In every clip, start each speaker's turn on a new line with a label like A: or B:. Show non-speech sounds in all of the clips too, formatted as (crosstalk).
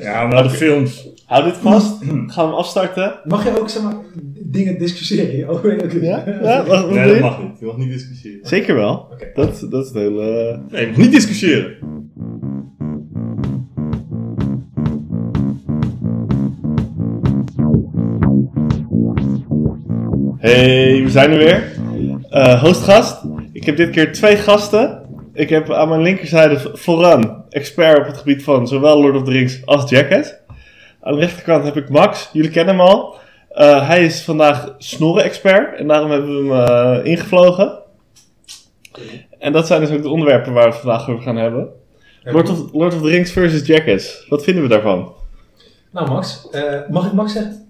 A: Ja, maar de films.
B: Hou dit (clears throat) vast. Ik ga hem afstarten.
C: Mag je ook zeg maar, dingen discussiëren over (laughs)
B: Ja? ja? Wat, wat
A: Nee,
B: doe
A: dat
B: je?
A: mag niet. Je mag niet discussiëren.
B: Zeker wel.
C: Oké.
B: Dat, dat is het hele... eh,
A: Nee, je mag niet discussiëren.
B: Hey, we zijn er weer. Eh, hostgast. Ik heb dit keer twee gasten. Ik heb aan mijn linkerzijde v- vooran expert op het gebied van zowel Lord of the Rings als Jacket. Aan de rechterkant heb ik Max. Jullie kennen hem al. Eh, hij is vandaag snorren-expert en daarom hebben we hem eh, ingevlogen. En dat zijn dus ook de onderwerpen waar we het vandaag over gaan hebben. Lord of, Lord of the Rings versus Jackets. Wat vinden we daarvan?
C: Nou Max, eh, mag ik Max zeggen?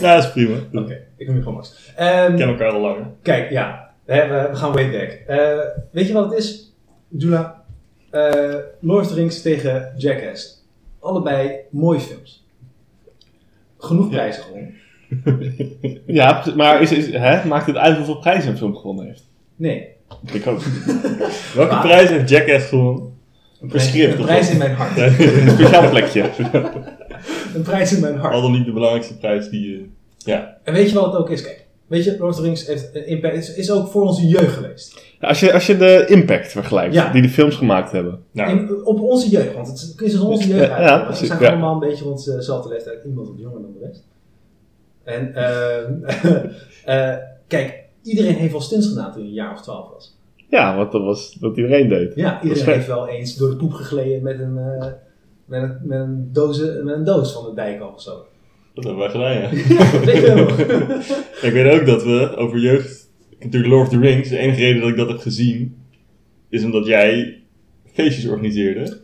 A: Ja, dat is prima.
C: Oké,
A: We
C: ik noem je gewoon Max. Ehm,
A: kennen elkaar al langer.
C: Kijk, ja, hè, we, we gaan way back. Eh, weet je wat het is, Dula? Eh Lord of the Rings tegen Jackass. Allebei mooie films. Genoeg prijzen gewonnen.
B: Ja, maar is, is, hè? maakt het uit hoeveel prijzen een film gewonnen heeft?
C: Nee.
B: Ik
C: (laughs)
B: ook.
A: Welke
C: Maar-
A: prijs heeft Jackass gewonnen? Een
C: Een
A: prescript of
C: prijs
A: zo?
C: in mijn hart.
B: (laughs) Een speciaal plekje.
C: Een prijs in mijn
B: Oh.
A: (laughs)
C: hart.
A: Al dan niet de belangrijkste prijs die je... Ja.
C: En weet je wat het ook is? Kijk, weet je, Lord of the Rings heeft een impact, is, is ook voor onze jeugd geweest.
B: Als je, als je de impact vergelijkt
C: Ja.
B: die de films gemaakt hebben.
A: Nou,
C: In, op onze jeugd, want het is dus onze jeugd
B: Ja,
C: eigenlijk.
B: ja,
C: hè?
B: precies,
C: We zijn
B: ja.
C: allemaal een beetje rond eh, dezelfde leeftijd. Iemand wat jonger dan de rest. En ehm, (laughs) eh, kijk, iedereen heeft wel stints gedaan toen hij een jaar of twaalf was.
B: Ja, want dat was wat iedereen deed.
C: Ja,
B: is
C: iedereen
B: gek.
C: heeft wel eens door de poep gegleden met een, eh, met een, met een, doze, met een doos van de dijk af of zo.
A: dat hebben wij gedaan, ja. (laughs)
C: Dat weet
B: (laughs)
C: je wel. (laughs)
A: Ik weet ook dat we over jeugd. Natuurlijk, Lord of the Rings. De enige reden dat ik dat heb gezien. is omdat jij feestjes organiseerde.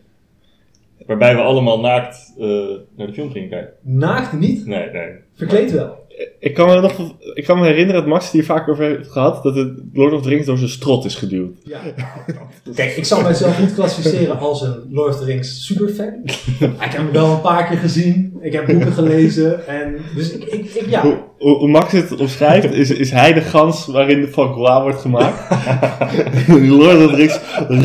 A: Waarbij we allemaal naakt eh, naar de film gingen kijken.
C: Naakt niet,
A: Nee, nee.
C: verkleed wel.
B: Ik kan me, nog, ik kan me herinneren dat Max het hier vaak over heeft gehad. Dat het Lord of the Rings door zijn strot is geduwd.
C: Ja. (laughs) Kijk, ik zal mijzelf niet klassificeren als een Lord of the Rings superfan. Maar ik heb hem wel een paar keer gezien. Ik heb boeken gelezen. En, dus ik, ik, ik ja.
B: Hoe, hoe hoe Max het omschrijft, is, is hij de gans waarin de Van Goa wordt (laughs) gemaakt. Lord of the Rings,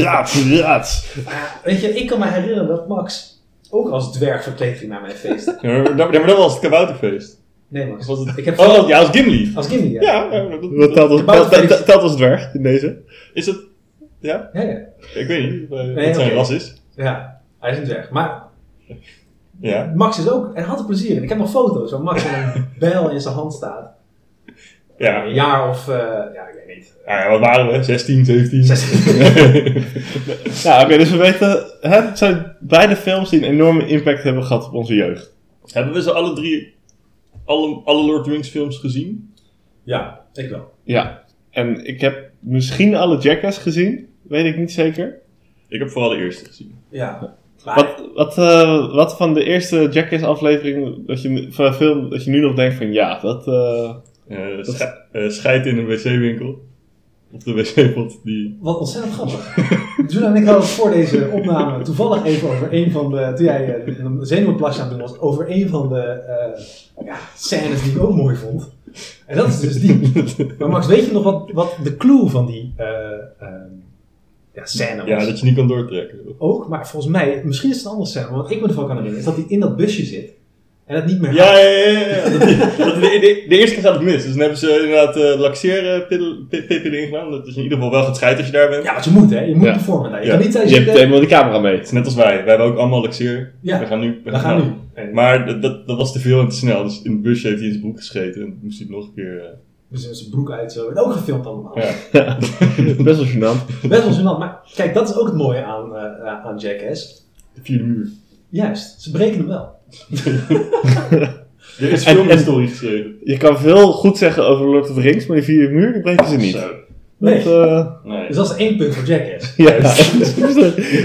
B: raats, raats.
C: Ja, Eh, Weet je, ik kan me herinneren dat Max ook als dwerg verkleed ging naar mijn feest.
A: Ja, maar, dat, ja, maar dat was het kabouterfeest.
C: Nee, Max.
A: Was het-
C: Ik heb
A: Oh,
C: vooral-
A: dat- ja, als Gimli.
C: als Gimli, ja.
A: Ja, ja, dat-
B: Wat telt als, telt, telt- telt als dwerg in deze?
A: Is dat. Ja?
C: Ja, ja.
A: Ik weet niet. eh,
C: Nee,
A: wat zijn
C: oké.
A: ras is.
C: Ja, hij is een dwerg. Maar
A: Ja.
C: Max is ook, en had er plezier in. Ik heb nog foto's waar Max met een bijl in zijn hand staat.
A: Ja.
C: Een jaar of, eh, ja, ik weet niet.
A: Nou ja, wat waren we? 16, 17.
C: Zes-
A: (laughs)
B: Ja, oké, dus we weten, hè, het zijn beide films die een enorme impact hebben gehad op onze jeugd.
A: Hebben we ze alle drie. Alle, alle Lord of the Rings films gezien?
C: Ja, ik wel.
B: Ja, en ik heb misschien alle Jackass gezien, weet ik niet zeker.
A: Ik heb vooral de eerste gezien.
C: Ja. Maar,
B: Wat, wat, eh, wat van de eerste Jackass aflevering, dat je, nu- van een film, dat je nu nog denkt van ja, dat... eh,
A: Eh sche- eh, scheid in een wc-winkel. Op de wc-pot die...
C: Wat ontzettend grappig. (laughs) Toen en ik hadden het voor deze opname toevallig even over een van de. Toen jij eh, een zenuwplasje aan het doen was, over een van de eh ja, scènes die ik ook mooi vond. En dat is dus die. Maar Max, weet je nog wat, wat de clue van die eh, ehm, ja, scène was?
A: Ja, dat je niet kan doortrekken.
C: Ook, maar volgens mij, misschien is het een andere scène, want ik me ervan kan herinneren, is dat hij in dat busje zit en het niet meer
A: Ja, ja, ja. ja. Dat, dat- de, de- de eerste keer gaat het mis. Dus dan hebben ze inderdaad eh laxeerpippen erin gedaan. Dat is in ieder geval wel gaat scheid als je daar bent.
C: Ja, want je moet, hè? Je moet
B: Ja.
C: performen daar. Je
A: Ja.
C: kan niet tijdens
B: je hebt
C: je.
B: helemaal de camera (laughs) mee.
A: Het is net als wij. Wij hebben ook allemaal laxeer.
C: Ja.
A: We gaan nu.
C: We gaan nu.
A: nou, Maar dat, dat, dat was te veel en te snel. Dus in het busje heeft hij in zijn broek gescheten. En moest hij het nog een keer... eh,
C: Dus in zijn broek uit zo. En ook gefilmd allemaal.
A: ja.
B: Best wel gênant.
C: Best wel gênant, maar kijk, dat is ook het mooie aan, eh, aan Jackass.
A: De vierde muur.
C: Juist, ze breken hem wel.
A: Er is
B: En- en-
A: filmhistorie geschreven.
B: Je kan veel goed zeggen over Lord of the Rings, maar die vierde muur, die breken ze niet. Dat,
A: Zo.
C: Nee.
B: eh,
A: Nee.
C: Dus dat is één punt voor (laughs) Jackass.
B: ja,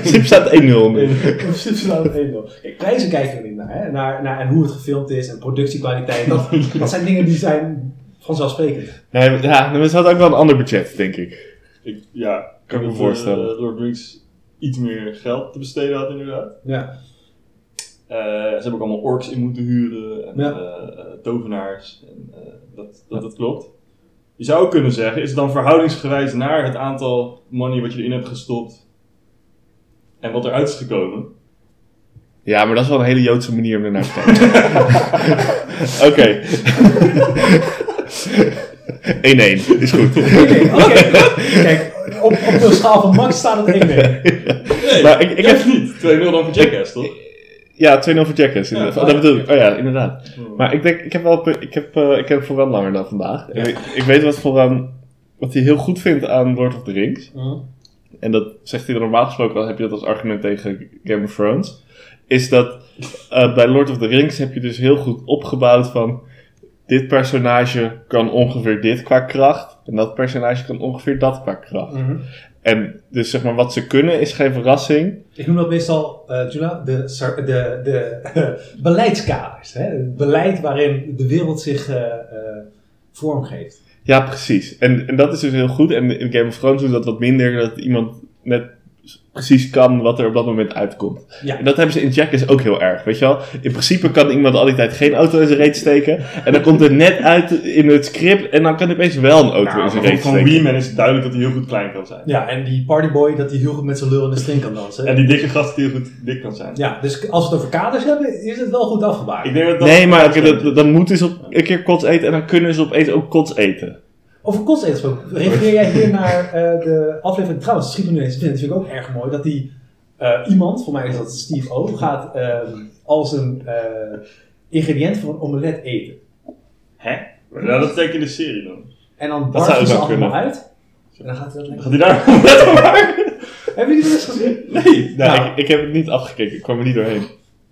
B: Schip staat 1-0
C: (laughs)
B: nu.
C: Precies, nou, dat één wil. Kijk, prijzen kijken we niet naar, hè? naar, naar. En hoe het gefilmd is en productiekwaliteit. (laughs) Dat, dat zijn dingen die zijn vanzelfsprekend.
B: Nee, maar- ja, maar ze hadden ook wel een ander budget, denk ik.
A: Ik, ja,
B: Kan ik me
A: dat,
B: voorstellen.
A: eh, Lord Drinks iets meer geld te besteden had, inderdaad.
C: Ja.
A: Eh, ze hebben ook allemaal orks in moeten huren en
C: Ja.
A: eh, eh, tovenaars. En, eh, dat, dat, dat klopt. Je zou ook kunnen zeggen, is het dan verhoudingsgewijs naar het aantal money wat je erin hebt gestopt en wat eruit is gekomen,
B: Ja, maar dat is wel een hele Joodse manier om ernaar te kijken.
C: (laughs)
B: Oké. 1-1, is goed.
C: Oké, oké. (laughs)
B: (laughs)
C: Kijk, op, op de schaal van Max staat het 1-1.
B: (laughs)
A: Nee,
B: Maar ik- ik
A: juist niet. 2-0 dan voor Jackass, toch?
B: Ja, 2-0 voor Jackass.
A: Ja,
B: inderdaad.
A: oh ja,
B: Oh,
A: Hmm.
B: dat bedoel ik. Oh ja, inderdaad. Maar ik denk, ik heb wel, een pu- ik heb, eh, ik heb Foran langer dan vandaag. En Ik, ik weet wat Foran, wat hij heel goed vindt aan Lord of the Rings.
A: Hmm.
B: en dat zegt hij normaal gesproken wel, heb je dat als argument tegen Game of Thrones, is dat eh, bij Lord of the Rings heb je dus heel goed opgebouwd van dit personage kan ongeveer dit qua kracht en dat personage kan ongeveer dat qua kracht.
C: Mhm.
B: En dus zeg maar wat ze kunnen is geen verrassing.
C: Ik noem dat meestal, eh Jula, de, sar- de, de (laughs) beleidskaders. Hè? Het beleid waarin de wereld zich eh eh vormgeeft.
B: Ja, precies. En, en dat is dus heel goed. En in Game of Thrones doet dat wat minder, dat iemand net precies kan wat er op dat moment uitkomt.
C: Ja.
B: En dat hebben ze in Jackass ook heel erg, weet je wel. In principe kan iemand al die tijd geen auto in zijn reet steken. En dan komt het net uit in het script en dan kan hij opeens wel een
A: Nou,
B: auto in zijn reet
A: van
B: steken.
A: Weeman is het duidelijk dat hij heel goed klein kan zijn.
C: Ja, en die partyboy dat hij heel goed met zijn lul in de string kan dansen.
A: En die dikke gast die heel goed dik kan zijn.
C: Ja, dus als we het over kaders hebben, is het wel goed afgebaard.
A: Ik denk dat dat-
B: Nee, maar oké, dat- dat- dan moeten ze op, een keer kots eten en dan kunnen ze opeens ook kots eten.
C: Over kost gesproken, refereer jij hier naar eh, de aflevering? Trouwens, schiet me nu eens binnen, dat vind ik ook erg mooi. Dat die eh, iemand, voor mij is dat Steve O, gaat ehm, als een eh, ingrediënt van een omelet eten.
A: Hè? Ja, dat steek in de serie dan.
C: En dan
B: Dat
C: barst
B: zou
C: hij ze
B: wel
C: allemaal
B: kunnen.
C: uit. En dan gaat hij dat lekker...
A: Gaat hij daar (laughs) net over?
C: Hebben jullie dat eens gezien?
A: Nee.
B: Nou,
C: Nou.
B: Ik, ik heb het niet afgekeken, ik kwam er niet doorheen.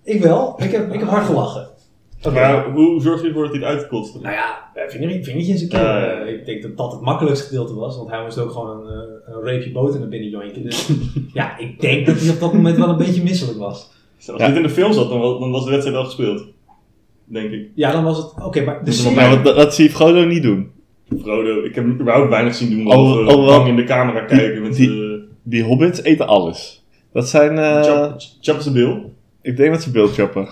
C: Ik wel. Ik heb, ik heb hard gelachen. Dat wel.
A: Maar hoe zorgt hij ervoor dat hij het uitkost?
C: Nou ja, eh, vinger, vingertje in zijn keel.
A: Ja, ja.
C: Eh, ik denk dat dat het makkelijkste gedeelte was, want hij moest ook gewoon een, eh, een reepje boter naar binnen jonken. Dus
B: (laughs)
C: ja, ik denk dat hij op dat moment wel een beetje misselijk was.
A: Als
B: Ja.
A: dit in de film zat, dan was, dan was de wedstrijd al gespeeld. Denk ik.
C: Ja, dan was het... Oké, maar de
A: Dus
C: serie...
A: wat
B: Maar dat, dat zie je Frodo niet doen.
A: Frodo, ik heb hem überhaupt weinig zien doen.
B: Al-
A: behalve
B: al wel-
A: lang in de camera kijken met eh,
B: die-
A: de
B: Die hobbits eten alles. Dat zijn, eh,
A: Chap's Bill.
B: ik denk dat ze beeld choppen.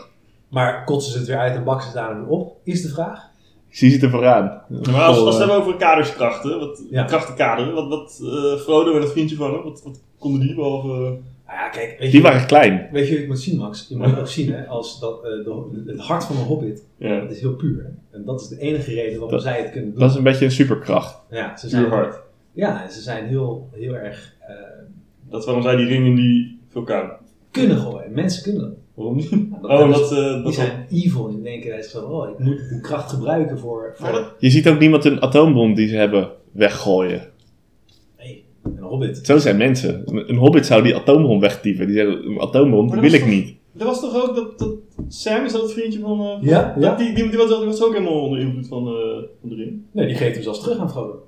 C: Maar kotsen ze het weer uit en bakken ze het daar dan weer op, is de vraag.
B: Ik zie ze er vooraan.
A: Maar als, als we het
B: Goh, eh,
A: hebben over kaderskrachten, wat,
C: Ja.
A: krachtenkaderen, wat, wat eh, Frodo en het vriendje van hem, wat, wat konden die behalve... eh,
C: Nou ja, kijk, weet
B: die
C: je,
B: waren klein.
C: weet je wat je moet zien, Max? Je moet ook zien, hè, als dat, eh, de, het hart van een hobbit,
A: ja,
C: dat is heel puur. hè. En dat is de enige reden waarom
B: Dat-
C: zij het kunnen doen.
B: Dat is een beetje een superkracht.
C: ja, ze zijn,
A: puur hard.
C: Ja, en ze zijn heel, heel erg... eh,
A: Dat is waarom zij die ring in die vulkaan.
C: kunnen gooien. Mensen kunnen dat.
A: Waarom niet?
C: Nou,
A: (laughs)
C: dat-
A: Oh,
B: dus
C: dat-
A: dat... eh,
C: Die
A: dat
C: zijn evil en denken dat ze van, oh, ik moet die kracht gebruiken voor... voor
A: Maar dat-
B: Je ziet ook niemand een atoombom die ze hebben weggooien.
C: Nee, een hobbit.
B: Zo zijn mensen. Een, een hobbit zou die atoombom wegtieven. Die zeggen, een atoombom
A: Maar
B: dat
A: dat is
B: wil ik
A: toch-
B: niet.
A: Er was toch ook dat, dat Sam, is dat het vriendje van... eh,
C: Ja,
A: dat- Die, die, die was, die was ook helemaal onder invloed van, eh, van de ring.
C: Nee, die geeft hem zelfs terug aan Frodo.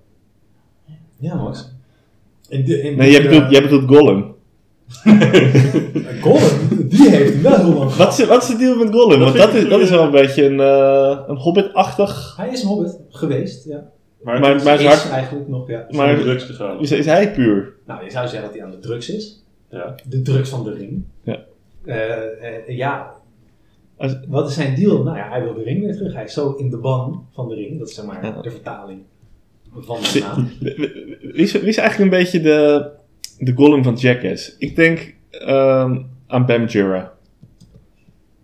C: Ja, Max. In de, in
B: Nee, jij
C: de-
B: bedoelt, jij bedoelt Gollum.
C: eh, Gollum, die heeft hem wel heel lang
B: Wat is, wat is de deal met
A: Dat
B: Gollum? Want
A: vind
B: dat
A: ik
B: is, dat
A: een
B: is wel een beetje een, eh, een hobbit-achtig...
C: Hij is een hobbit geweest, ja.
B: Maar-
A: het is-
B: maar-
C: Is
B: zijn hart-
C: eigenlijk nog, ja.
A: is maar,
B: maar-
A: drugs gegaan.
B: Is, is hij puur?
C: Nou, je zou zeggen dat hij aan de drugs is.
A: Ja.
C: De drugs van de ring.
B: Ja.
C: Eh, eh, ja.
B: Als-
C: Wat is zijn deal? Nou ja, hij wil de ring weer terug. Hij is zo in de ban van de ring. Dat is zeg maar
B: Ja.
C: de vertaling van de naam.
B: Wie is, wie is eigenlijk een beetje de, de Gollum van Jackass? Ik denk ehm, aan Bam Jura.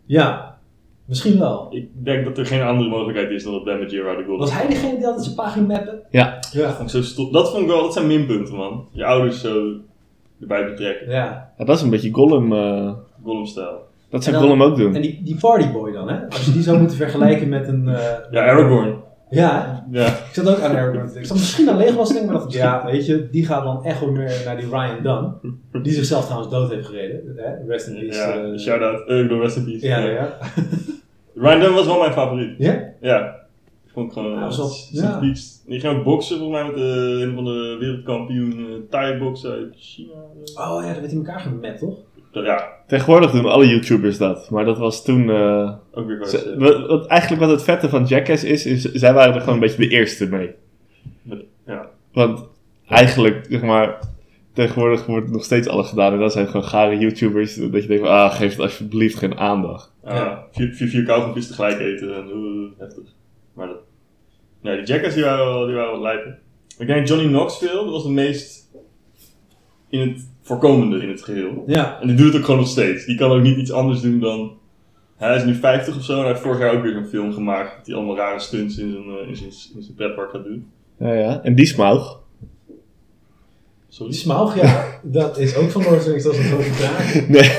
C: Ja, misschien wel.
A: Ik denk dat er geen andere mogelijkheid is dan dat Ben met Gerard de Gold.
C: Was hij degene die altijd zijn pagina mappen?
B: Ja.
C: Ja.
A: Vond ik zo stom. Dat vond ik wel, dat zijn minpunten, man. Je ouders zo erbij betrekken.
C: Ja.
B: Ja, dat is een beetje Gollum. eh,
A: Gollum-stijl.
B: dat zou
C: En dan-
B: Gollum ook doen.
C: En die, die partyboy dan, hè? Als je die zou moeten vergelijken met een... eh,
A: Ja, Aragorn.
C: Ja, hè?
A: Ja.
C: Ik zat ook aan Aragorn te denken. Ik zat misschien aan Legolas te denken, maar dacht ik, ja, weet je, die gaat dan echt wel meer naar die Ryan Dunn. Die zichzelf trouwens dood heeft gereden. Hè? Rest in peace.
A: ja
C: eh,
A: Shout-out. Eh, ik bedoel, rest in peace.
C: ja,
A: Ja.
C: ja, ja.
A: Ryan Dunn was wel mijn favoriet.
C: Ja?
A: Ja. Ik vond het gewoon...
C: Ja,
A: Ja,
C: was wel- ja.
A: Die ging ook boksen, volgens mij, met eh, een van de wereldkampioen eh, Thai-boksen uit China.
C: Oh ja, dat werd in elkaar gemapt, toch?
A: Ja,
B: Tegenwoordig doen alle YouTubers dat. Maar dat was toen. eh,
A: ook weer
B: ze-
A: vast.
B: wat, wat eigenlijk wat het vette van Jackass is, is zij waren er gewoon een beetje de eerste mee.
A: Ja.
B: Want eigenlijk, zeg maar. Tegenwoordig wordt nog steeds alles gedaan. En dat zijn gewoon gare YouTubers. Dat je denkt: van, ah, geef het alsjeblieft geen aandacht.
A: Ah, vier, vier, vier kauwgompjes tegelijk eten. En, eh, heftig. Maar dat... Nee, die Jackers die waren wel, die waren wel lijpen. Ik denk Johnny Knoxville, dat was de meest... In het voorkomende in het geheel.
C: Ja,
A: En die doet het ook gewoon nog steeds. Die kan ook niet iets anders doen dan. Hij is nu 50 of zo en hij heeft vorig jaar ook weer zo'n film gemaakt. Dat hij allemaal rare stunts in zijn, eh, in zijn, in zijn pretpark gaat doen.
B: Ja, ja. En die smaug.
A: Sorry.
C: die smaug, ja, dat is ook van Noordwings, dat is een grote vraag.
B: Nee,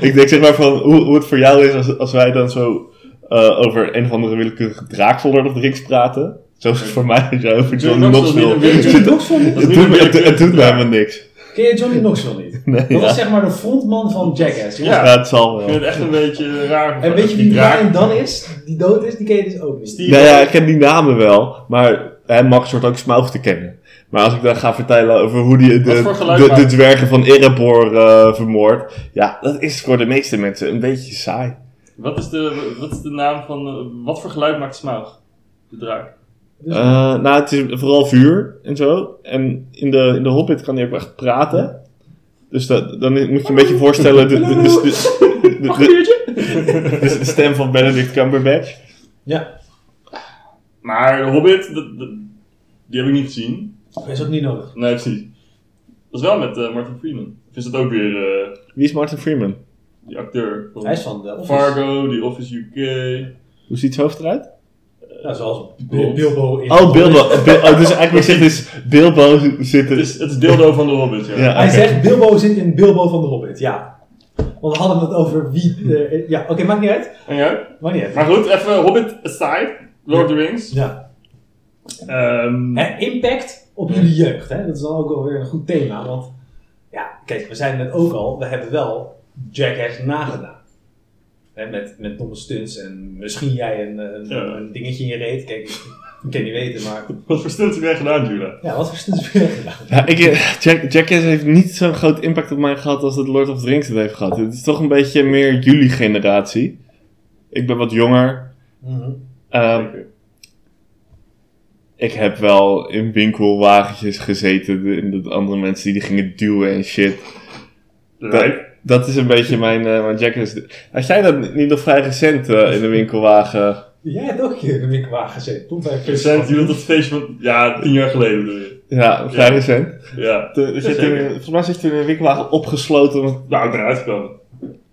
B: ik denk zeg maar van hoe, hoe het voor jou is als, als wij dan zo eh, over een of andere willekeurige draak van Lord of the Rings praten. Zoals het voor mij als jij over John
A: Knoxville
B: Knoxville.
A: niet een
B: Het
C: (laughs) Johnny
B: doet-
C: Knoxville
A: Dat
C: niet?
B: het
A: is niet
B: doet me-
A: een
B: het- het doet me
A: draak.
B: helemaal niks.
C: Ken je Johnny Knoxville niet?
B: Nee,
C: Dat
B: ja.
C: was zeg maar de frontman van Jackass. jongens.
A: Ja.
B: Ja, het zal
A: Ik
B: wel.
A: vind het echt een beetje raar.
C: En weet je
A: die
C: wie
A: draak-
C: Brian dan is, die dood is, die ken je dus ook niet.
A: Steve-
B: Nou ja, ik ken die namen wel, maar hè, Max wordt ook Smaug te kennen. Maar als ik dan ga vertellen over hoe
A: Wat
B: die de,
A: voor geluid
B: de, de
A: maakt-
B: dwergen van Erebor eh vermoord, ja, dat is voor de meeste mensen een beetje saai.
A: Wat is de, wat is de naam van. eh, wat voor geluid maakt Smaug? De draak.
C: Dus-
B: Eh, nou, het is vooral vuur en zo. En in de, in de Hobbit kan hij ook echt praten. Dus dat, dan moet je een beetje voorstellen de, de, de, de- de-
A: Mag
B: de-
A: een biertje?
B: de- de stem van Benedict Cumberbatch.
C: Ja,
A: Maar de Hobbit, dat- dat- die heb ik niet gezien.
C: dat is ook niet nodig.
A: Nee, precies. Dat is wel met eh, Martin Freeman. Ik vind dat ook weer eh,
B: Wie is Martin Freeman?
A: die acteur van
C: Hij is van de Office.
A: Fargo, die Office UK.
B: Hoe ziet het hoofd eruit?
C: Nou, zoals Bi- Bilbo in
B: Oh, Bilbo. Bil- oh, dus eigenlijk zegt dus Bilbo zit
A: Het
B: er.
A: is, het is dildo van de Hobbit, ja.
B: Ja.
C: Hij
B: Oké.
C: zegt Bilbo zit in Bilbo van de Hobbit, ja. Want we hadden het over wie... eh, ja, oké, maakt niet uit.
A: En jij?
C: Maakt niet uit.
A: Maar goed, even Hobbit aside. Lord of the Rings.
C: Ja.
A: Ehm,
C: Hè, impact op jullie jeugd, hè? dat is dan ook wel weer een goed thema. Want ja, kijk, we zijn het ook al, we hebben wel Jackass nagedaan. Hè, met, met domme stunts en misschien jij een, eh, een,
A: Ja.
C: een dingetje in je reet. Kijk, ik, ik kan niet weten, maar
A: wat voor stunts heb jij gedaan, Jula?
C: ja, wat voor stunts heb je gedaan?
B: Ja, ik, eh, Jack, Jackass heeft niet zo'n groot impact op mij gehad als dat Lord of the Rings het heeft gehad. Het is toch een beetje meer jullie generatie. Ik ben wat jonger.
C: Mhm.
B: Ehm,
A: Zeker.
B: ik heb wel in winkelwagentjes gezeten. de- En dat andere mensen die, die gingen duwen en shit.
A: Lijp.
B: Dat is een beetje mijn, eh, mijn Jackass. Had jij dat niet nog vrij recent eh, in de winkelwagen?
C: Jij hebt ook een keer in de winkelwagen gezeten. Toen bij
A: Recent, jullie dat feestje van... Ja, tien jaar geleden bedoel je.
B: Ja, vrij
A: Ja.
B: recent.
A: Ja.
B: Toen- dus je
A: Zeker.
B: toen- volgens mij zit je toen in een winkelwagen opgesloten. omdat-
A: Nou, ik ben uitgekomen.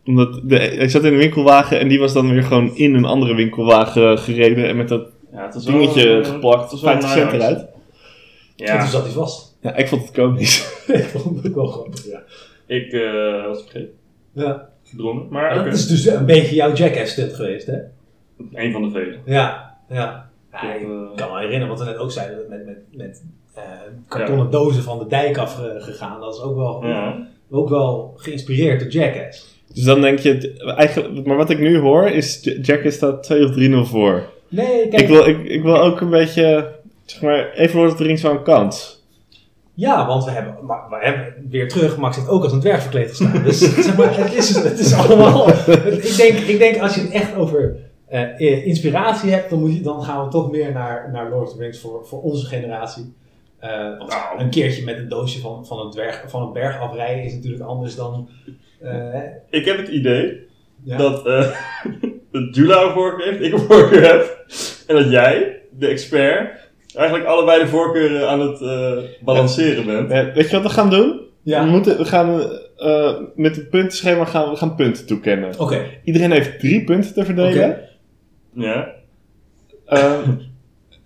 B: Omdat de, ik zat in een winkelwagen en die was dan weer gewoon in een andere winkelwagen gereden. En met dat
A: Ja, het was wel-
B: dingetje
A: eh, het
B: geplakt.
A: was wel
B: 50 cent
A: een
B: eruit.
C: En toen
A: Ja,
C: zat hij vast. (laughs)
B: Ja, ik vond het komisch.
C: ik vond het ook wel grappig, ja.
A: ik eh, was vergeten.
C: ja.
A: Gedrongen. Maar oké.
C: Dat is dus een beetje jouw Jackass stunt geweest, hè?
A: Eén van de vele.
C: Ja, ja. ja
A: Ik,
C: ik
A: eh,
C: kan me herinneren wat we net ook zeiden, dat met, met, met eh, kartonnen dozen van de dijk afgegaan. Dat is ook wel,
A: ja.
C: ook wel geïnspireerd door Jackass.
B: Dus dan denk je, het- eigenlijk, maar wat ik nu hoor is, J- Jack is daar 2 of 3-0 voor.
C: Nee, kijk.
B: Ik wil, ik, ik wil ook een beetje, zeg maar, even Lord of the Rings wel een kans.
C: Ja, want we hebben, maar, we hebben weer terug. Max heeft ook als een dwerg verkleed
A: (laughs)
C: gestaan. Dus zeg maar, het is, het is allemaal. het- ik, denk, ik denk als je het echt over eh, eh, inspiratie hebt, dan, moet je, dan gaan we toch meer naar, naar Lord of the Rings voor, voor onze generatie. Eh, want
A: Nou.
C: een keertje met een doosje van, van, een dwerg, van een berg afrijden is natuurlijk anders dan. eh, hè.
A: Ik heb het idee
C: ja.
A: dat, eh (laughs) dat Jula een voorkeur heeft, ik een (laughs) voorkeur heb. En dat jij, de expert, eigenlijk allebei de voorkeuren aan het eh, balanceren bent.
B: Eh, weet je wat we gaan doen?
C: Ja.
A: Mm.
B: We, moeten, we gaan eh, met het puntenschema gaan, we gaan punten toekennen.
C: Oké,
B: Iedereen heeft drie punten te verdelen.
C: Oh. Oké.
A: Ja.
B: Ehm,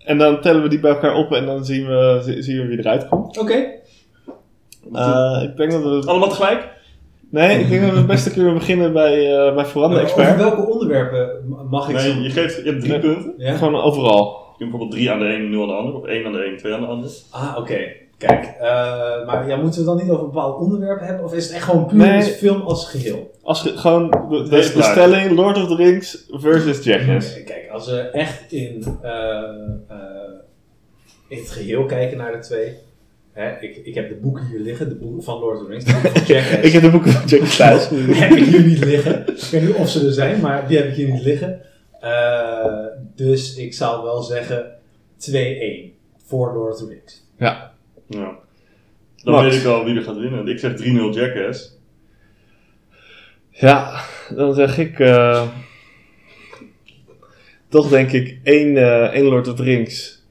B: en dan tellen we die bij elkaar op en dan zien we, zi- zien we wie eruit komt.
C: oké.
B: Eh, ik denk dat we,
A: Allemaal tegelijk?
B: nee, ik denk dat we het beste kunnen beginnen bij, eh bij Veranda
C: Over
B: Expert.
C: welke onderwerpen ma- mag ik
A: Nee,
C: zo-
A: je, geeft, je hebt drie
B: Nee.
A: punten.
C: Ja?
B: Gewoon overal.
A: Je kunt bijvoorbeeld drie aan de een, nul aan de ander. Of één aan de een, twee aan de ander.
C: Ah, oké. Kijk, eh, maar ja, moeten we het dan niet over een bepaald onderwerp hebben? Of is het echt gewoon puur
B: Nee.
C: de film als geheel?
B: Als ge- gewoon de, de,
A: Deze
B: de
A: vraag.
B: stelling Lord of the Rings versus Jackass.
C: Oké, Kijk, als we echt in, eh, eh, in het geheel kijken naar de twee. Hè, ik, ik heb de boeken hier liggen, de boeken van Lord of the Rings, de
B: (laughs)
C: boeken van Jackass.
B: (laughs) Ik heb de boeken van Jackass thuis.
C: Die heb ik hier niet liggen. Ik weet niet of ze er zijn, maar die heb ik hier niet liggen. Eh, dus ik zou wel zeggen 2-1 voor Lord of the Rings.
B: ja.
A: Ja. Dan
B: Max.
A: weet ik al wie er gaat winnen. Ik zeg 3-0 Jackass.
B: ja, dan zeg ik... eh, toch denk ik één, eh, één Lord of the Rings.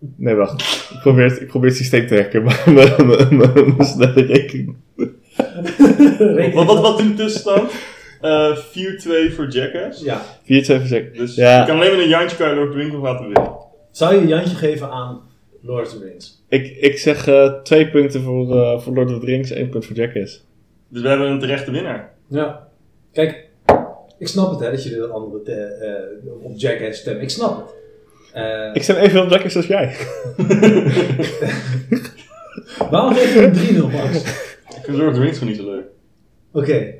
B: (laughs) Nee, wacht. Ik probeer het, ik probeer het systeem te hacken, maar mijn- mijn mijn- mijn snelle rekening
C: Reken
A: Wat,
C: ik
A: wat,
C: wel.
A: wat in de tussenstand? Eh 4-2 voor Jackass.
C: Ja.
B: 4, 2, 6.
A: Dus
B: Ja.
A: je kan alleen met een Jantje kan je Lord Winkel laten winnen.
C: Zou je een jantje geven aan Lord of the Rings?
B: Ik, ik zeg eh twee punten voor, eh, voor Lord of the Rings, één punt voor Jackass.
A: Dus we hebben een terechte winnaar.
C: Ja. Kijk, ik snap het hè, dat je de andere te- eh, op Jackass stemt. Ik snap het. Eh,
B: Ik stem evenveel op Jackass als jij.
C: Waarom geef je een 3-0, Max? Oké.
A: (laughs) Ik vind Lord of the Rings gewoon niet zo leuk.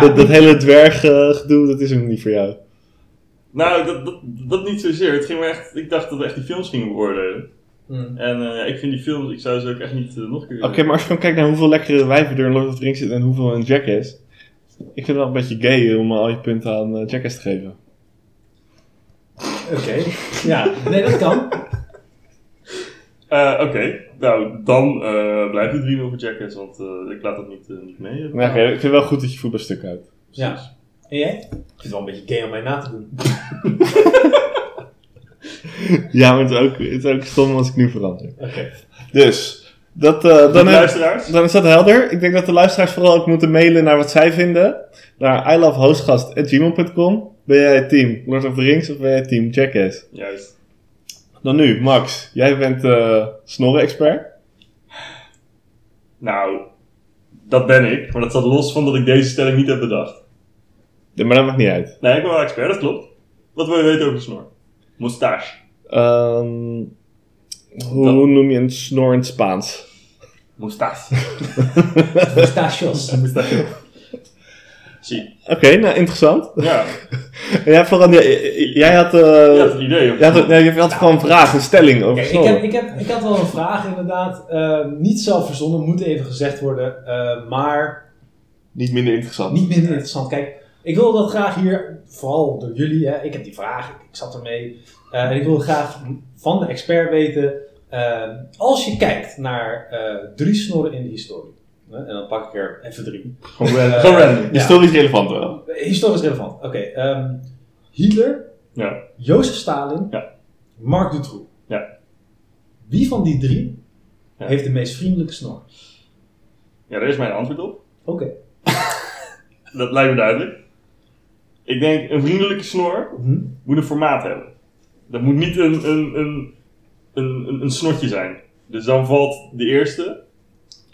B: (laughs) Dat, dat hele dwerggedoe, dat is hem niet voor jou.
A: Nou, dat, dat, dat niet zozeer. Het ging me echt, ik dacht dat we echt die films gingen beoordelen.
C: Hm.
A: En eh, ik vind die films, ik zou ze ook echt niet eh, nog een keer
B: Oké, maar als je gewoon kijkt naar hoeveel lekkere wijven er in Lord of the Rings zitten en hoeveel in Jackass. Ik vind het wel een beetje gay om al je punten aan eh, Jackass te geven.
C: Oké. Ja, nee, dat kan.
A: Eh, Oké, nou dan eh, blijft het 3-0 voor Jackass, want eh, ik laat dat niet, eh, niet mee.
B: Maar oké, ik vind het wel goed dat je voetbalstuk houdt. (laughs)
C: Ja. En jij? Ik vind het wel een beetje gay om mij na te doen.
B: Ja, maar het is ook, het is ook stom als ik nu verander.
C: Oké. (laughs)
B: Dus, dat, eh,
A: Dan
B: dan, heb-
A: luisteraars.
B: dan is dat helder. Ik denk dat de luisteraars vooral ook moeten mailen naar wat zij vinden. Naar ilovehostgast.gmail.com Ben jij team Lord of the Rings of ben jij team Jackass?
A: Juist.
B: Dan nu, Max. Jij bent eh snorren-expert.
A: Nou, dat ben ik, maar dat staat los van dat ik deze stelling niet heb bedacht.
B: Ja, Maar dat maakt niet uit.
A: Nee, ik ben wel expert, dat klopt. Wat wil je weten over snor? Moustache.
B: Ehm, hoe
A: Dat-
B: noem je een snor in het Spaans? (laughs)
A: Moustache.
C: Pistachios.
A: Zie.
B: Oké, nou interessant.
A: Ja,
B: En jij, Florian, jij, jij had, eh,
A: dat is het idee. of-
B: jij had, nee, je had gewoon een vraag, een stelling over
C: Kijk, ik,
B: snorren.
C: heb, ik, heb, ik had wel een vraag inderdaad. Eh, niet zelf verzonnen, moet even gezegd worden. eh, maar
B: Niet minder interessant.
C: Niet minder interessant. Kijk, ik wil dat graag hier, vooral door jullie, hè, ik heb die vraag, ik zat ermee. eh, en ik wil graag van de expert weten, eh, als je kijkt naar eh, drie snorren in de historie. hè, en dan pak ik er even drie.
B: Gewoon random.
A: (laughs)
C: Eh,
A: Gewoon random.
C: ja,
B: Historisch relevant wel.
C: historisch relevant. Oké, ehm, Hitler,
A: Ja.
C: Jozef Stalin,
A: Ja.
C: Mark Dutroux.
A: Ja.
C: Wie van die drie
A: Ja.
C: heeft de meest vriendelijke snor?
A: ja, daar is mijn antwoord op.
C: Oké.
A: Dat lijkt me duidelijk. Ik denk, een vriendelijke snor
C: Mhm.
A: moet een formaat hebben. Dat moet niet een, een, een, een, een, een snotje zijn. Dus dan valt de eerste,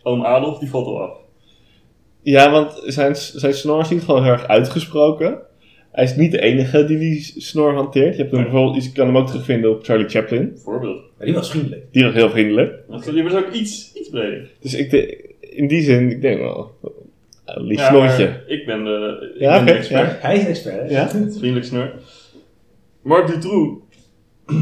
A: oom Adolf, die valt al af.
B: Ja, want zijn, zijn snor is niet gewoon heel erg uitgesproken. Hij is niet de enige die die snor hanteert. Je, hebt hem
A: Nee.
B: bijvoorbeeld, je kan hem ook terugvinden op Charlie Chaplin.
A: Bijvoorbeeld.
C: Maar die was vriendelijk.
B: Die was heel vriendelijk.
A: Want Die was ook iets, iets breder.
B: Dus ik, de- in die zin, ik denk wel, een lief
A: Ja,
B: snortje.
A: maar Ik ben de, ik
B: Ja,
A: ben de
B: oké,
A: expert.
B: ja.
C: Hij is expert, hè?
B: Ja.
A: Vriendelijk snor. Mark Dutroux (clears throat)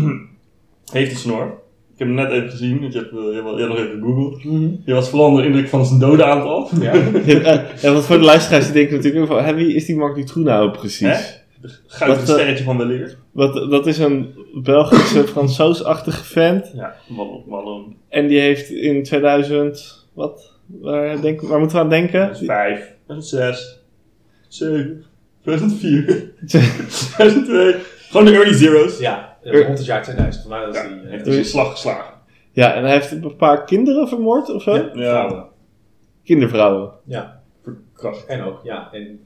A: heeft een snor. Ik heb hem net even gezien, want je hebt, eh, je hebt al- je hebt nog even gegoogeld.
C: Mhm.
A: Je was vooral onder de indruk van zijn dode aantal.
C: (laughs) Ja.
B: Ja, eh, ja, want voor de luisteraars die denken natuurlijk ook van, hè, wie is die Mark Dutroux nou precies?
A: Gouden
B: Wat, eh,
A: sterretje van weleer.
B: Wat, dat is een Belgische Fransoos-achtige vent.
A: Ja, man, man,
B: En die heeft in 2000, wat? Waar, denk, waar moeten we aan denken?
A: 2005, 2006, 2007, (laughs) 2004, 2002. Gewoon de early zeros.
C: Ja, eh, rond het jaar 2000. Vandaar dat
A: Ja,
C: die, eh,
A: heeft hij zijn slag geslagen.
B: Ja, en hij heeft een paar kinderen vermoord of zo?
C: ja,
A: Ja.
C: vrouwen.
B: Kindervrouwen.
C: Ja,
A: Verkracht.
C: en ook, ja. En,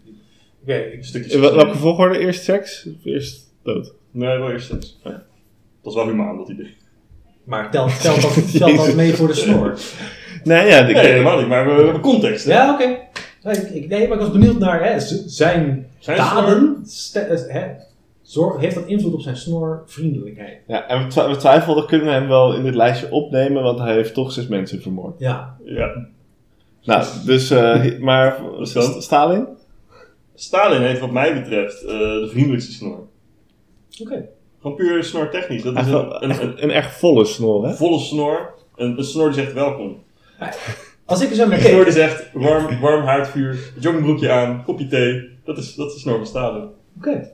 C: oké, ik stukje.
A: Dus,
B: In
A: eh,
B: wel- welke volgorde? Eerst seks of eerst dood?
A: Nee, wel eerst seks. Ja. Dat is wel humaan, dat idee.
C: Maar telt, telt, dat, telt dat mee voor de snor?
B: Nee, ja, ik-
A: Nee, helemaal niet, maar we hebben context. hè?
C: Ja, oké. Nee, ik- ik- Nee, maar ik was benieuwd naar hè, z- zijn,
A: Zijn
C: daden. ste- eh, hè, zorg, heeft dat invloed op zijn snorvriendelijkheid?
B: ja, en we, twi- we twijfelden, kunnen we hem wel in dit lijstje opnemen, want hij heeft toch zes mensen vermoord.
C: Ja.
A: Ja.
B: Nou,
A: (laughs)
B: dus, eh, maar
A: dan?
B: Stalin?
A: Stalin heeft wat mij betreft eh, de vriendelijkste snor.
C: Oké.
A: Gewoon puur snortechnisch. Dat is
B: Echt wel-
A: een,
B: echt
A: een,
B: een echt volle snor, hè?
A: een volle snor. Een, een snor die zegt welkom.
C: Als ik er zo naar
A: Een (laughs) snor
C: keek...
A: die zegt warm, warm haardvuur, joggingbroekje aan, kopje thee. Dat is, dat is de snor van Stalin.
C: Oké.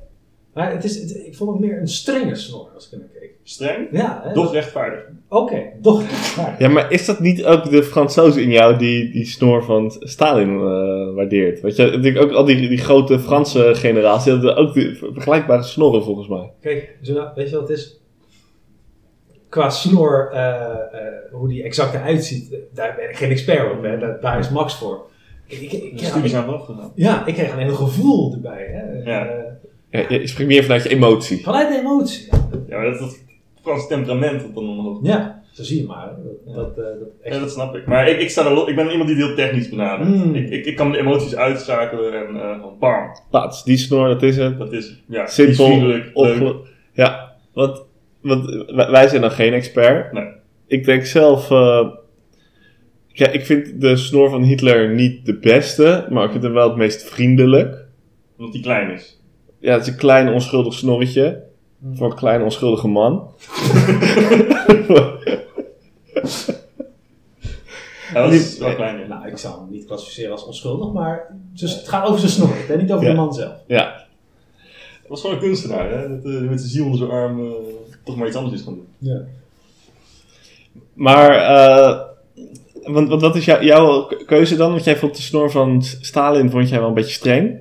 C: Maar het is, het- ik vond het meer een strenge snor als ik er naar keek.
A: Streng,
C: Ja, hè,
A: doch rechtvaardig.
C: dat- Oké, doch. Maar-
B: Ja, maar is dat niet ook de Fransoos in jou die die snor van Stalin eh, waardeert? Weet je, natuurlijk ook al die, die grote Franse generatie hadden ook die vergelijkbare snorren volgens mij.
C: Kijk, Jonah, weet je wat het is? Qua snor, eh, eh, hoe die exact eruit ziet, eh, daar ben ik geen expert op. Hè? Daar, daar is Max voor. Ik, ik, ik,
A: De
C: ja,
A: studies
C: ik-
A: zijn wel gegaan.
C: ja, ik kreeg alleen een gevoel erbij. Hè.
A: Ja.
C: Eh,
D: Ja, je springt meer vanuit je emotie.
C: vanuit de emotie.
A: Ja, maar dat is dat Frans temperament dat dan omhoog komt.
C: Ja, zo zie je maar. hè. Dat, dat, eh, dat
A: Ja,
C: echt-
A: dat snap ik. Hmm. Maar ik, ik, sta er lo- ik ben iemand die het heel technisch benadert.
C: Mm.
A: Ik, ik, ik kan de emoties uitschakelen en eh, gewoon bam.
B: Plaats, die snor, dat is het.
A: Dat is ja,
B: Simpel.
A: die is vriendelijk, leuk.
B: opgelo- Ja, want, want wij- wij zijn dan geen expert.
A: Nee.
B: Ik denk zelf... eh, ja, ik vind de snor van Hitler niet de beste, maar ik vind hem wel het meest vriendelijk.
A: Omdat die klein is.
B: Ja, het is een klein onschuldig snorretje.
C: Mm.
B: Voor een klein onschuldige man. (laughs)
A: Hij was
B: Die-
A: wel klein. ja.
C: Nou, ik zou hem niet klassificeren als onschuldig, maar dus het gaat over zijn snor. Het gaat niet over
B: Ja.
C: de man zelf.
B: ja,
A: Hij was gewoon een kunstenaar, hè? Dat, eh, met zijn ziel onder zijn arm eh, toch maar iets anders is gaan doen.
C: Ja.
B: maar... eh, want, want wat is jou- jouw keuze dan? Want jij vond de snor van Stalin vond jij wel een beetje streng.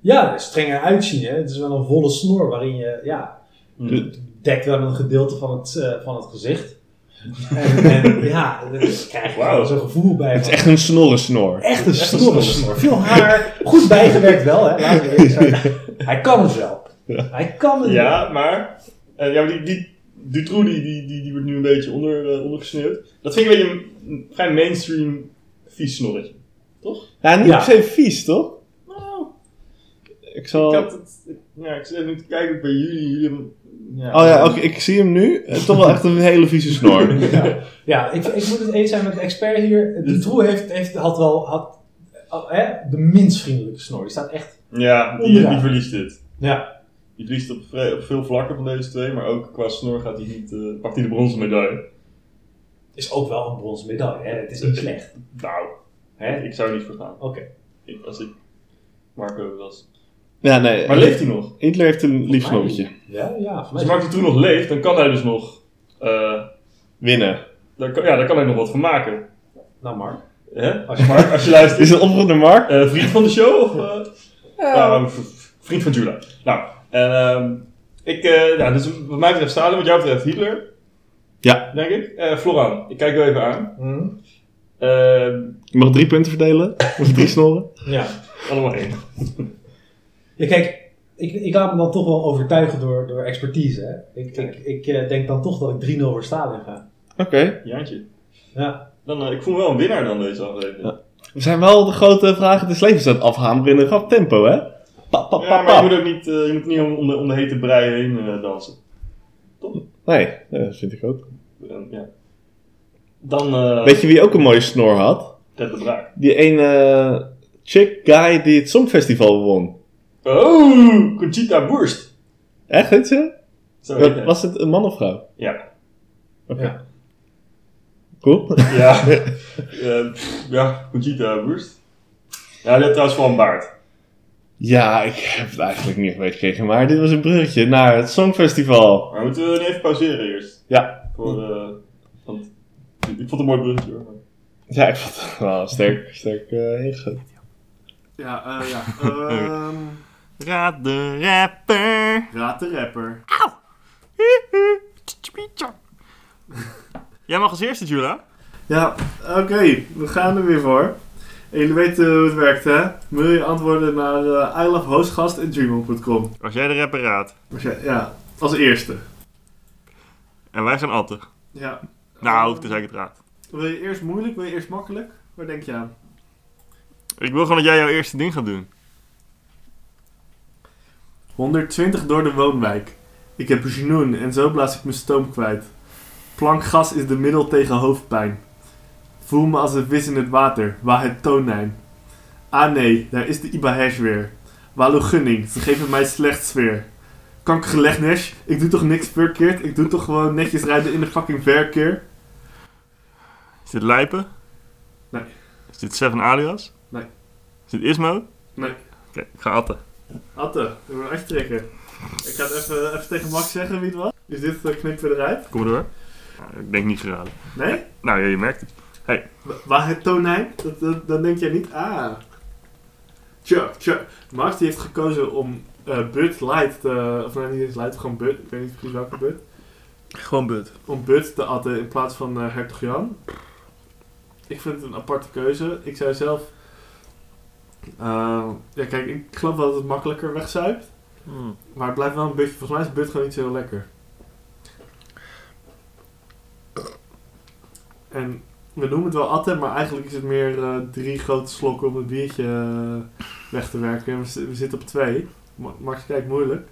C: ja, strenger uitzien. Hè. Het is wel een volle snor waarin je, ja,
A: Mm.
C: dekt wel een gedeelte van het, eh, van het
A: (laughs)
C: gezicht. En, en ja, daar krijg je
A: Wauw.
C: wel zo'n gevoel bij.
B: Het is echt een snorrensnor.
C: Echt een
A: Echt een
C: snorre
A: snorre.
C: Veel haar, goed bijgewerkt wel, hè? laten we eerlijk zijn.
A: (laughs)
C: Hij kan het wel. Hij kan het wel.
A: Ja, maar, eh, ja, maar die, die Dutroux die, die, die, die wordt nu een beetje onder, eh, ondergesneeuwd. Dat vind ik een beetje een, een vrij mainstream vies snorretje. Toch?
B: Ja, niet
C: Ja.
B: per se vies, toch?
A: Nou,
B: Ik zal...
A: ik had het... Ja, ik zit even te kijken bij jullie. jullie hebben-
B: Oh ja, oké, ik zie hem nu. Eh, Toch wel echt een hele vieze
A: (laughs)
B: snor.
C: Ja, ja ik, ik moet het eens zijn met de expert hier. De Troe heeft, heeft, had wel had, al- hè, de minst vriendelijke snor. Die staat echt.
A: Ja, die,
C: Onderaan.
A: die verliest dit.
C: Ja,
A: Die verliest op, vre- op veel vlakken van deze twee, maar ook qua snor gaat hij niet, eh, pakt hij de bronzen medaille.
C: is ook wel een bronzen medaille. Hè? Het
A: (laughs)
C: is niet slecht.
A: Nou,
C: Hè?
A: ik zou er niet voor gaan.
C: Oké.
A: Ik, als ik Marco was.
B: Ja, nee.
A: Maar leeft hij nog?
B: Hitler heeft een lief snorretje.
C: Ja, ja. voor mij
A: Als
C: is-
A: Marco toen nog leeft, dan kan hij dus nog... eh,
B: Winnen.
A: daar kan, ja, daar kan hij nog wat van maken.
C: Nou, Mark.
A: Hè?
C: Als je
A: Mark, als je
B: Is
A: luistert...
B: het een oproep naar Mark?
A: eh, vriend van de show? Of, eh, nou, v- v- vriend van Jula. Nou, en, ehm, ik, eh, ja, dus wat mij betreft Stalin, wat jou betreft Hitler.
B: Ja.
A: Denk ik. Eh Florian, ik kijk wel even aan.
C: Hm?
A: Ehm,
B: Je mag drie punten verdelen. Of drie snorren.
C: Ja.
A: allemaal één.
C: Ja, kijk, ik, ik laat me dan toch wel overtuigen door, door expertise. Hè? Ik, ik, ik eh, denk dan toch dat ik 3-0 voor Stalin ga.
B: Oké.
A: Jaantje.
C: Ja.
A: Dan, eh, ik voel me wel een winnaar dan deze aflevering.
B: Ja. We zijn wel de grote vragen des levens aan het afhameren in een rap tempo, hè? Pap, pap,
A: Ja,
B: pap,
A: maar je
B: pap.
A: moet ook niet, eh, je moet niet om, om de, om de hete brei heen eh, dansen.
B: Nee, nee, dat vind ik ook.
A: Eh, ja. Dan eh
B: Weet je wie ook een mooie snor had?
A: Ted de Braak.
B: Die ene eh, chick guy die het Songfestival won.
A: Oh, Conchita Boerst.
B: Echt, heet ze?
A: Zo heet hij.
B: Was het een man of vrouw?
A: Ja.
C: Ja.
B: Cool. (laughs)
A: Ja. Eh, pff, (laughs) ja, Conchita Boerst. Ja, die had trouwens wel een baard.
B: Ja, ik heb het eigenlijk niet meegekregen, maar dit was een bruggetje naar het Songfestival.
A: Maar moeten we dan even pauzeren eerst?
B: Ja.
A: Voor, eh, want ik ik vond het een mooi bruggetje hoor.
B: Ja, ik vond het wel sterk, sterk eh ingegaan.
E: Ja, eh ja. Ehm raad de rapper. Raad de rapper.
A: Jij mag als eerste, Jula.
E: Ja, oké. we gaan er weer voor. En jullie weten hoe het werkt, hè? Wil je antwoorden naar eh ilovehostgast.gmail.com.
A: Als jij de rapper raadt.
E: Als jij- Ja, als eerste.
A: En wij zijn atten.
E: Ja. Ehm,
A: dus ik het raad.
E: Wil je eerst moeilijk, wil je eerst makkelijk? Waar denk je aan?
A: Ik wil gewoon dat jij jouw eerste ding gaat doen.
E: 120 door de woonwijk. Ik heb genoen en zo blaas ik mijn stoom kwijt. Plankgas is de middel tegen hoofdpijn. Voel me als een vis in het water, waar het tonijn. Ah nee, daar is de Ibahesh weer. Walu gunning, ze geven mij slecht sfeer. Kankergelegnesh, ik doe toch niks verkeerd, ik doe toch gewoon netjes rijden in de fucking verkeer.
A: Is dit Lijpen?
E: Nee.
A: Is dit Seven Alias?
E: Nee.
A: Is dit Ismo?
E: Nee.
A: Oké, ik ga atten.
E: Atte, ik moet echt trekken. Ik ga het even, even tegen Max zeggen wie het was. Is dit eh, knippen we eruit?
A: Kom maar door. Nou, ik denk niet geraden.
E: Nee?
A: Nou ja, je merkt het.
E: Wa- Waar het tonijn, dat, dat, dat denk jij niet. Ah. Tja, tja. Max die heeft gekozen om eh Bud Light, te, of nee, niet eens Light, gewoon Bud, ik weet niet precies welke Bud.
A: Gewoon but.
E: Om Bud te atten in plaats van eh Hertog Jan. Ik vind het een aparte keuze. Ik zou zelf Eh, ja, kijk, ik geloof wel dat het makkelijker wegzuipt.
A: Hmm.
E: Maar het blijft wel een beetje... Volgens mij is het but gewoon niet zo heel lekker. En we noemen het wel atten, maar eigenlijk is het meer eh, drie grote slokken om het biertje eh, weg te werken. En we, zi- we zitten op twee. Ma- Max kijkt moeilijk.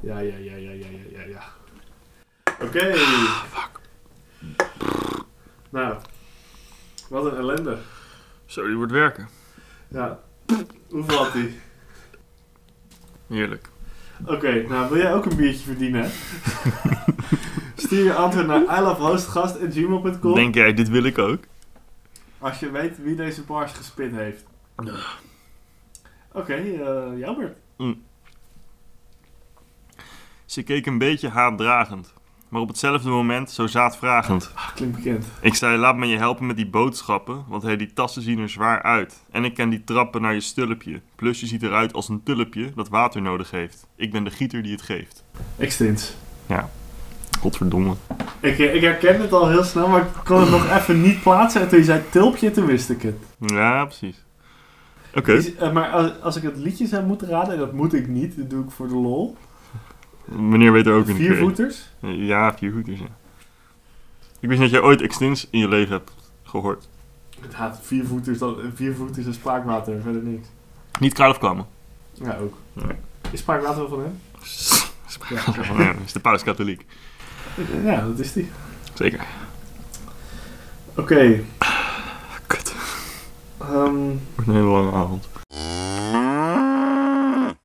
E: Ja, ja, ja, ja, ja, ja, ja, ja. Oké. Nou, wat een ellende.
A: Zo, die wordt werken.
E: Ja. Hoeveel had hij?
A: Heerlijk.
E: Oké, nou wil jij ook een biertje
A: (laughs)
E: verdienen? Stuur je antwoord naar ilovehostgast.gmail.com
A: Denk jij, dit wil ik ook?
E: als je weet wie deze bars gespit heeft. Oké, eh, jammer.
A: Ze keek een beetje haatdragend. Maar op hetzelfde moment zo zaadvragend.
E: Ah, Klinkt bekend.
A: Ik zei, laat me je helpen met die boodschappen, want hey, die tassen zien er zwaar uit. En ik ken die trappen naar je stulpje. Plus je ziet eruit als een tulpje dat water nodig heeft. Ik ben de gieter die het geeft.
E: Extins.
A: Godverdomme.
E: Ik, eh, ik herken het al heel snel, maar ik kon het
A: (laughs)
E: nog even niet plaatsen. En toen je zei tulpje, toen wist ik het.
A: Ja, precies. Oké.
E: Is- eh, maar als, als ik het liedje zou moeten raden, en dat moet ik niet, dat doe ik voor de lol.
A: Meneer weet er ook een keer.
E: Viervoeters.
A: Ja, viervoeters, ja. Ik wist niet dat jij ooit Extins in je leven hebt gehoord.
E: Ja, viervoeters, dan, viervoeters en spaakwater, verder niks.
A: Niet Karel
E: (laughs)
A: kwamen.
E: Ja, ook.
A: Ja.
E: Is spaakwater wel van hem?
A: Ja, is de paus katholiek.
E: Ja, dat is die.
A: Zeker.
E: Oké.
A: Kut.
E: ehm,
A: Wordt een hele lange avond.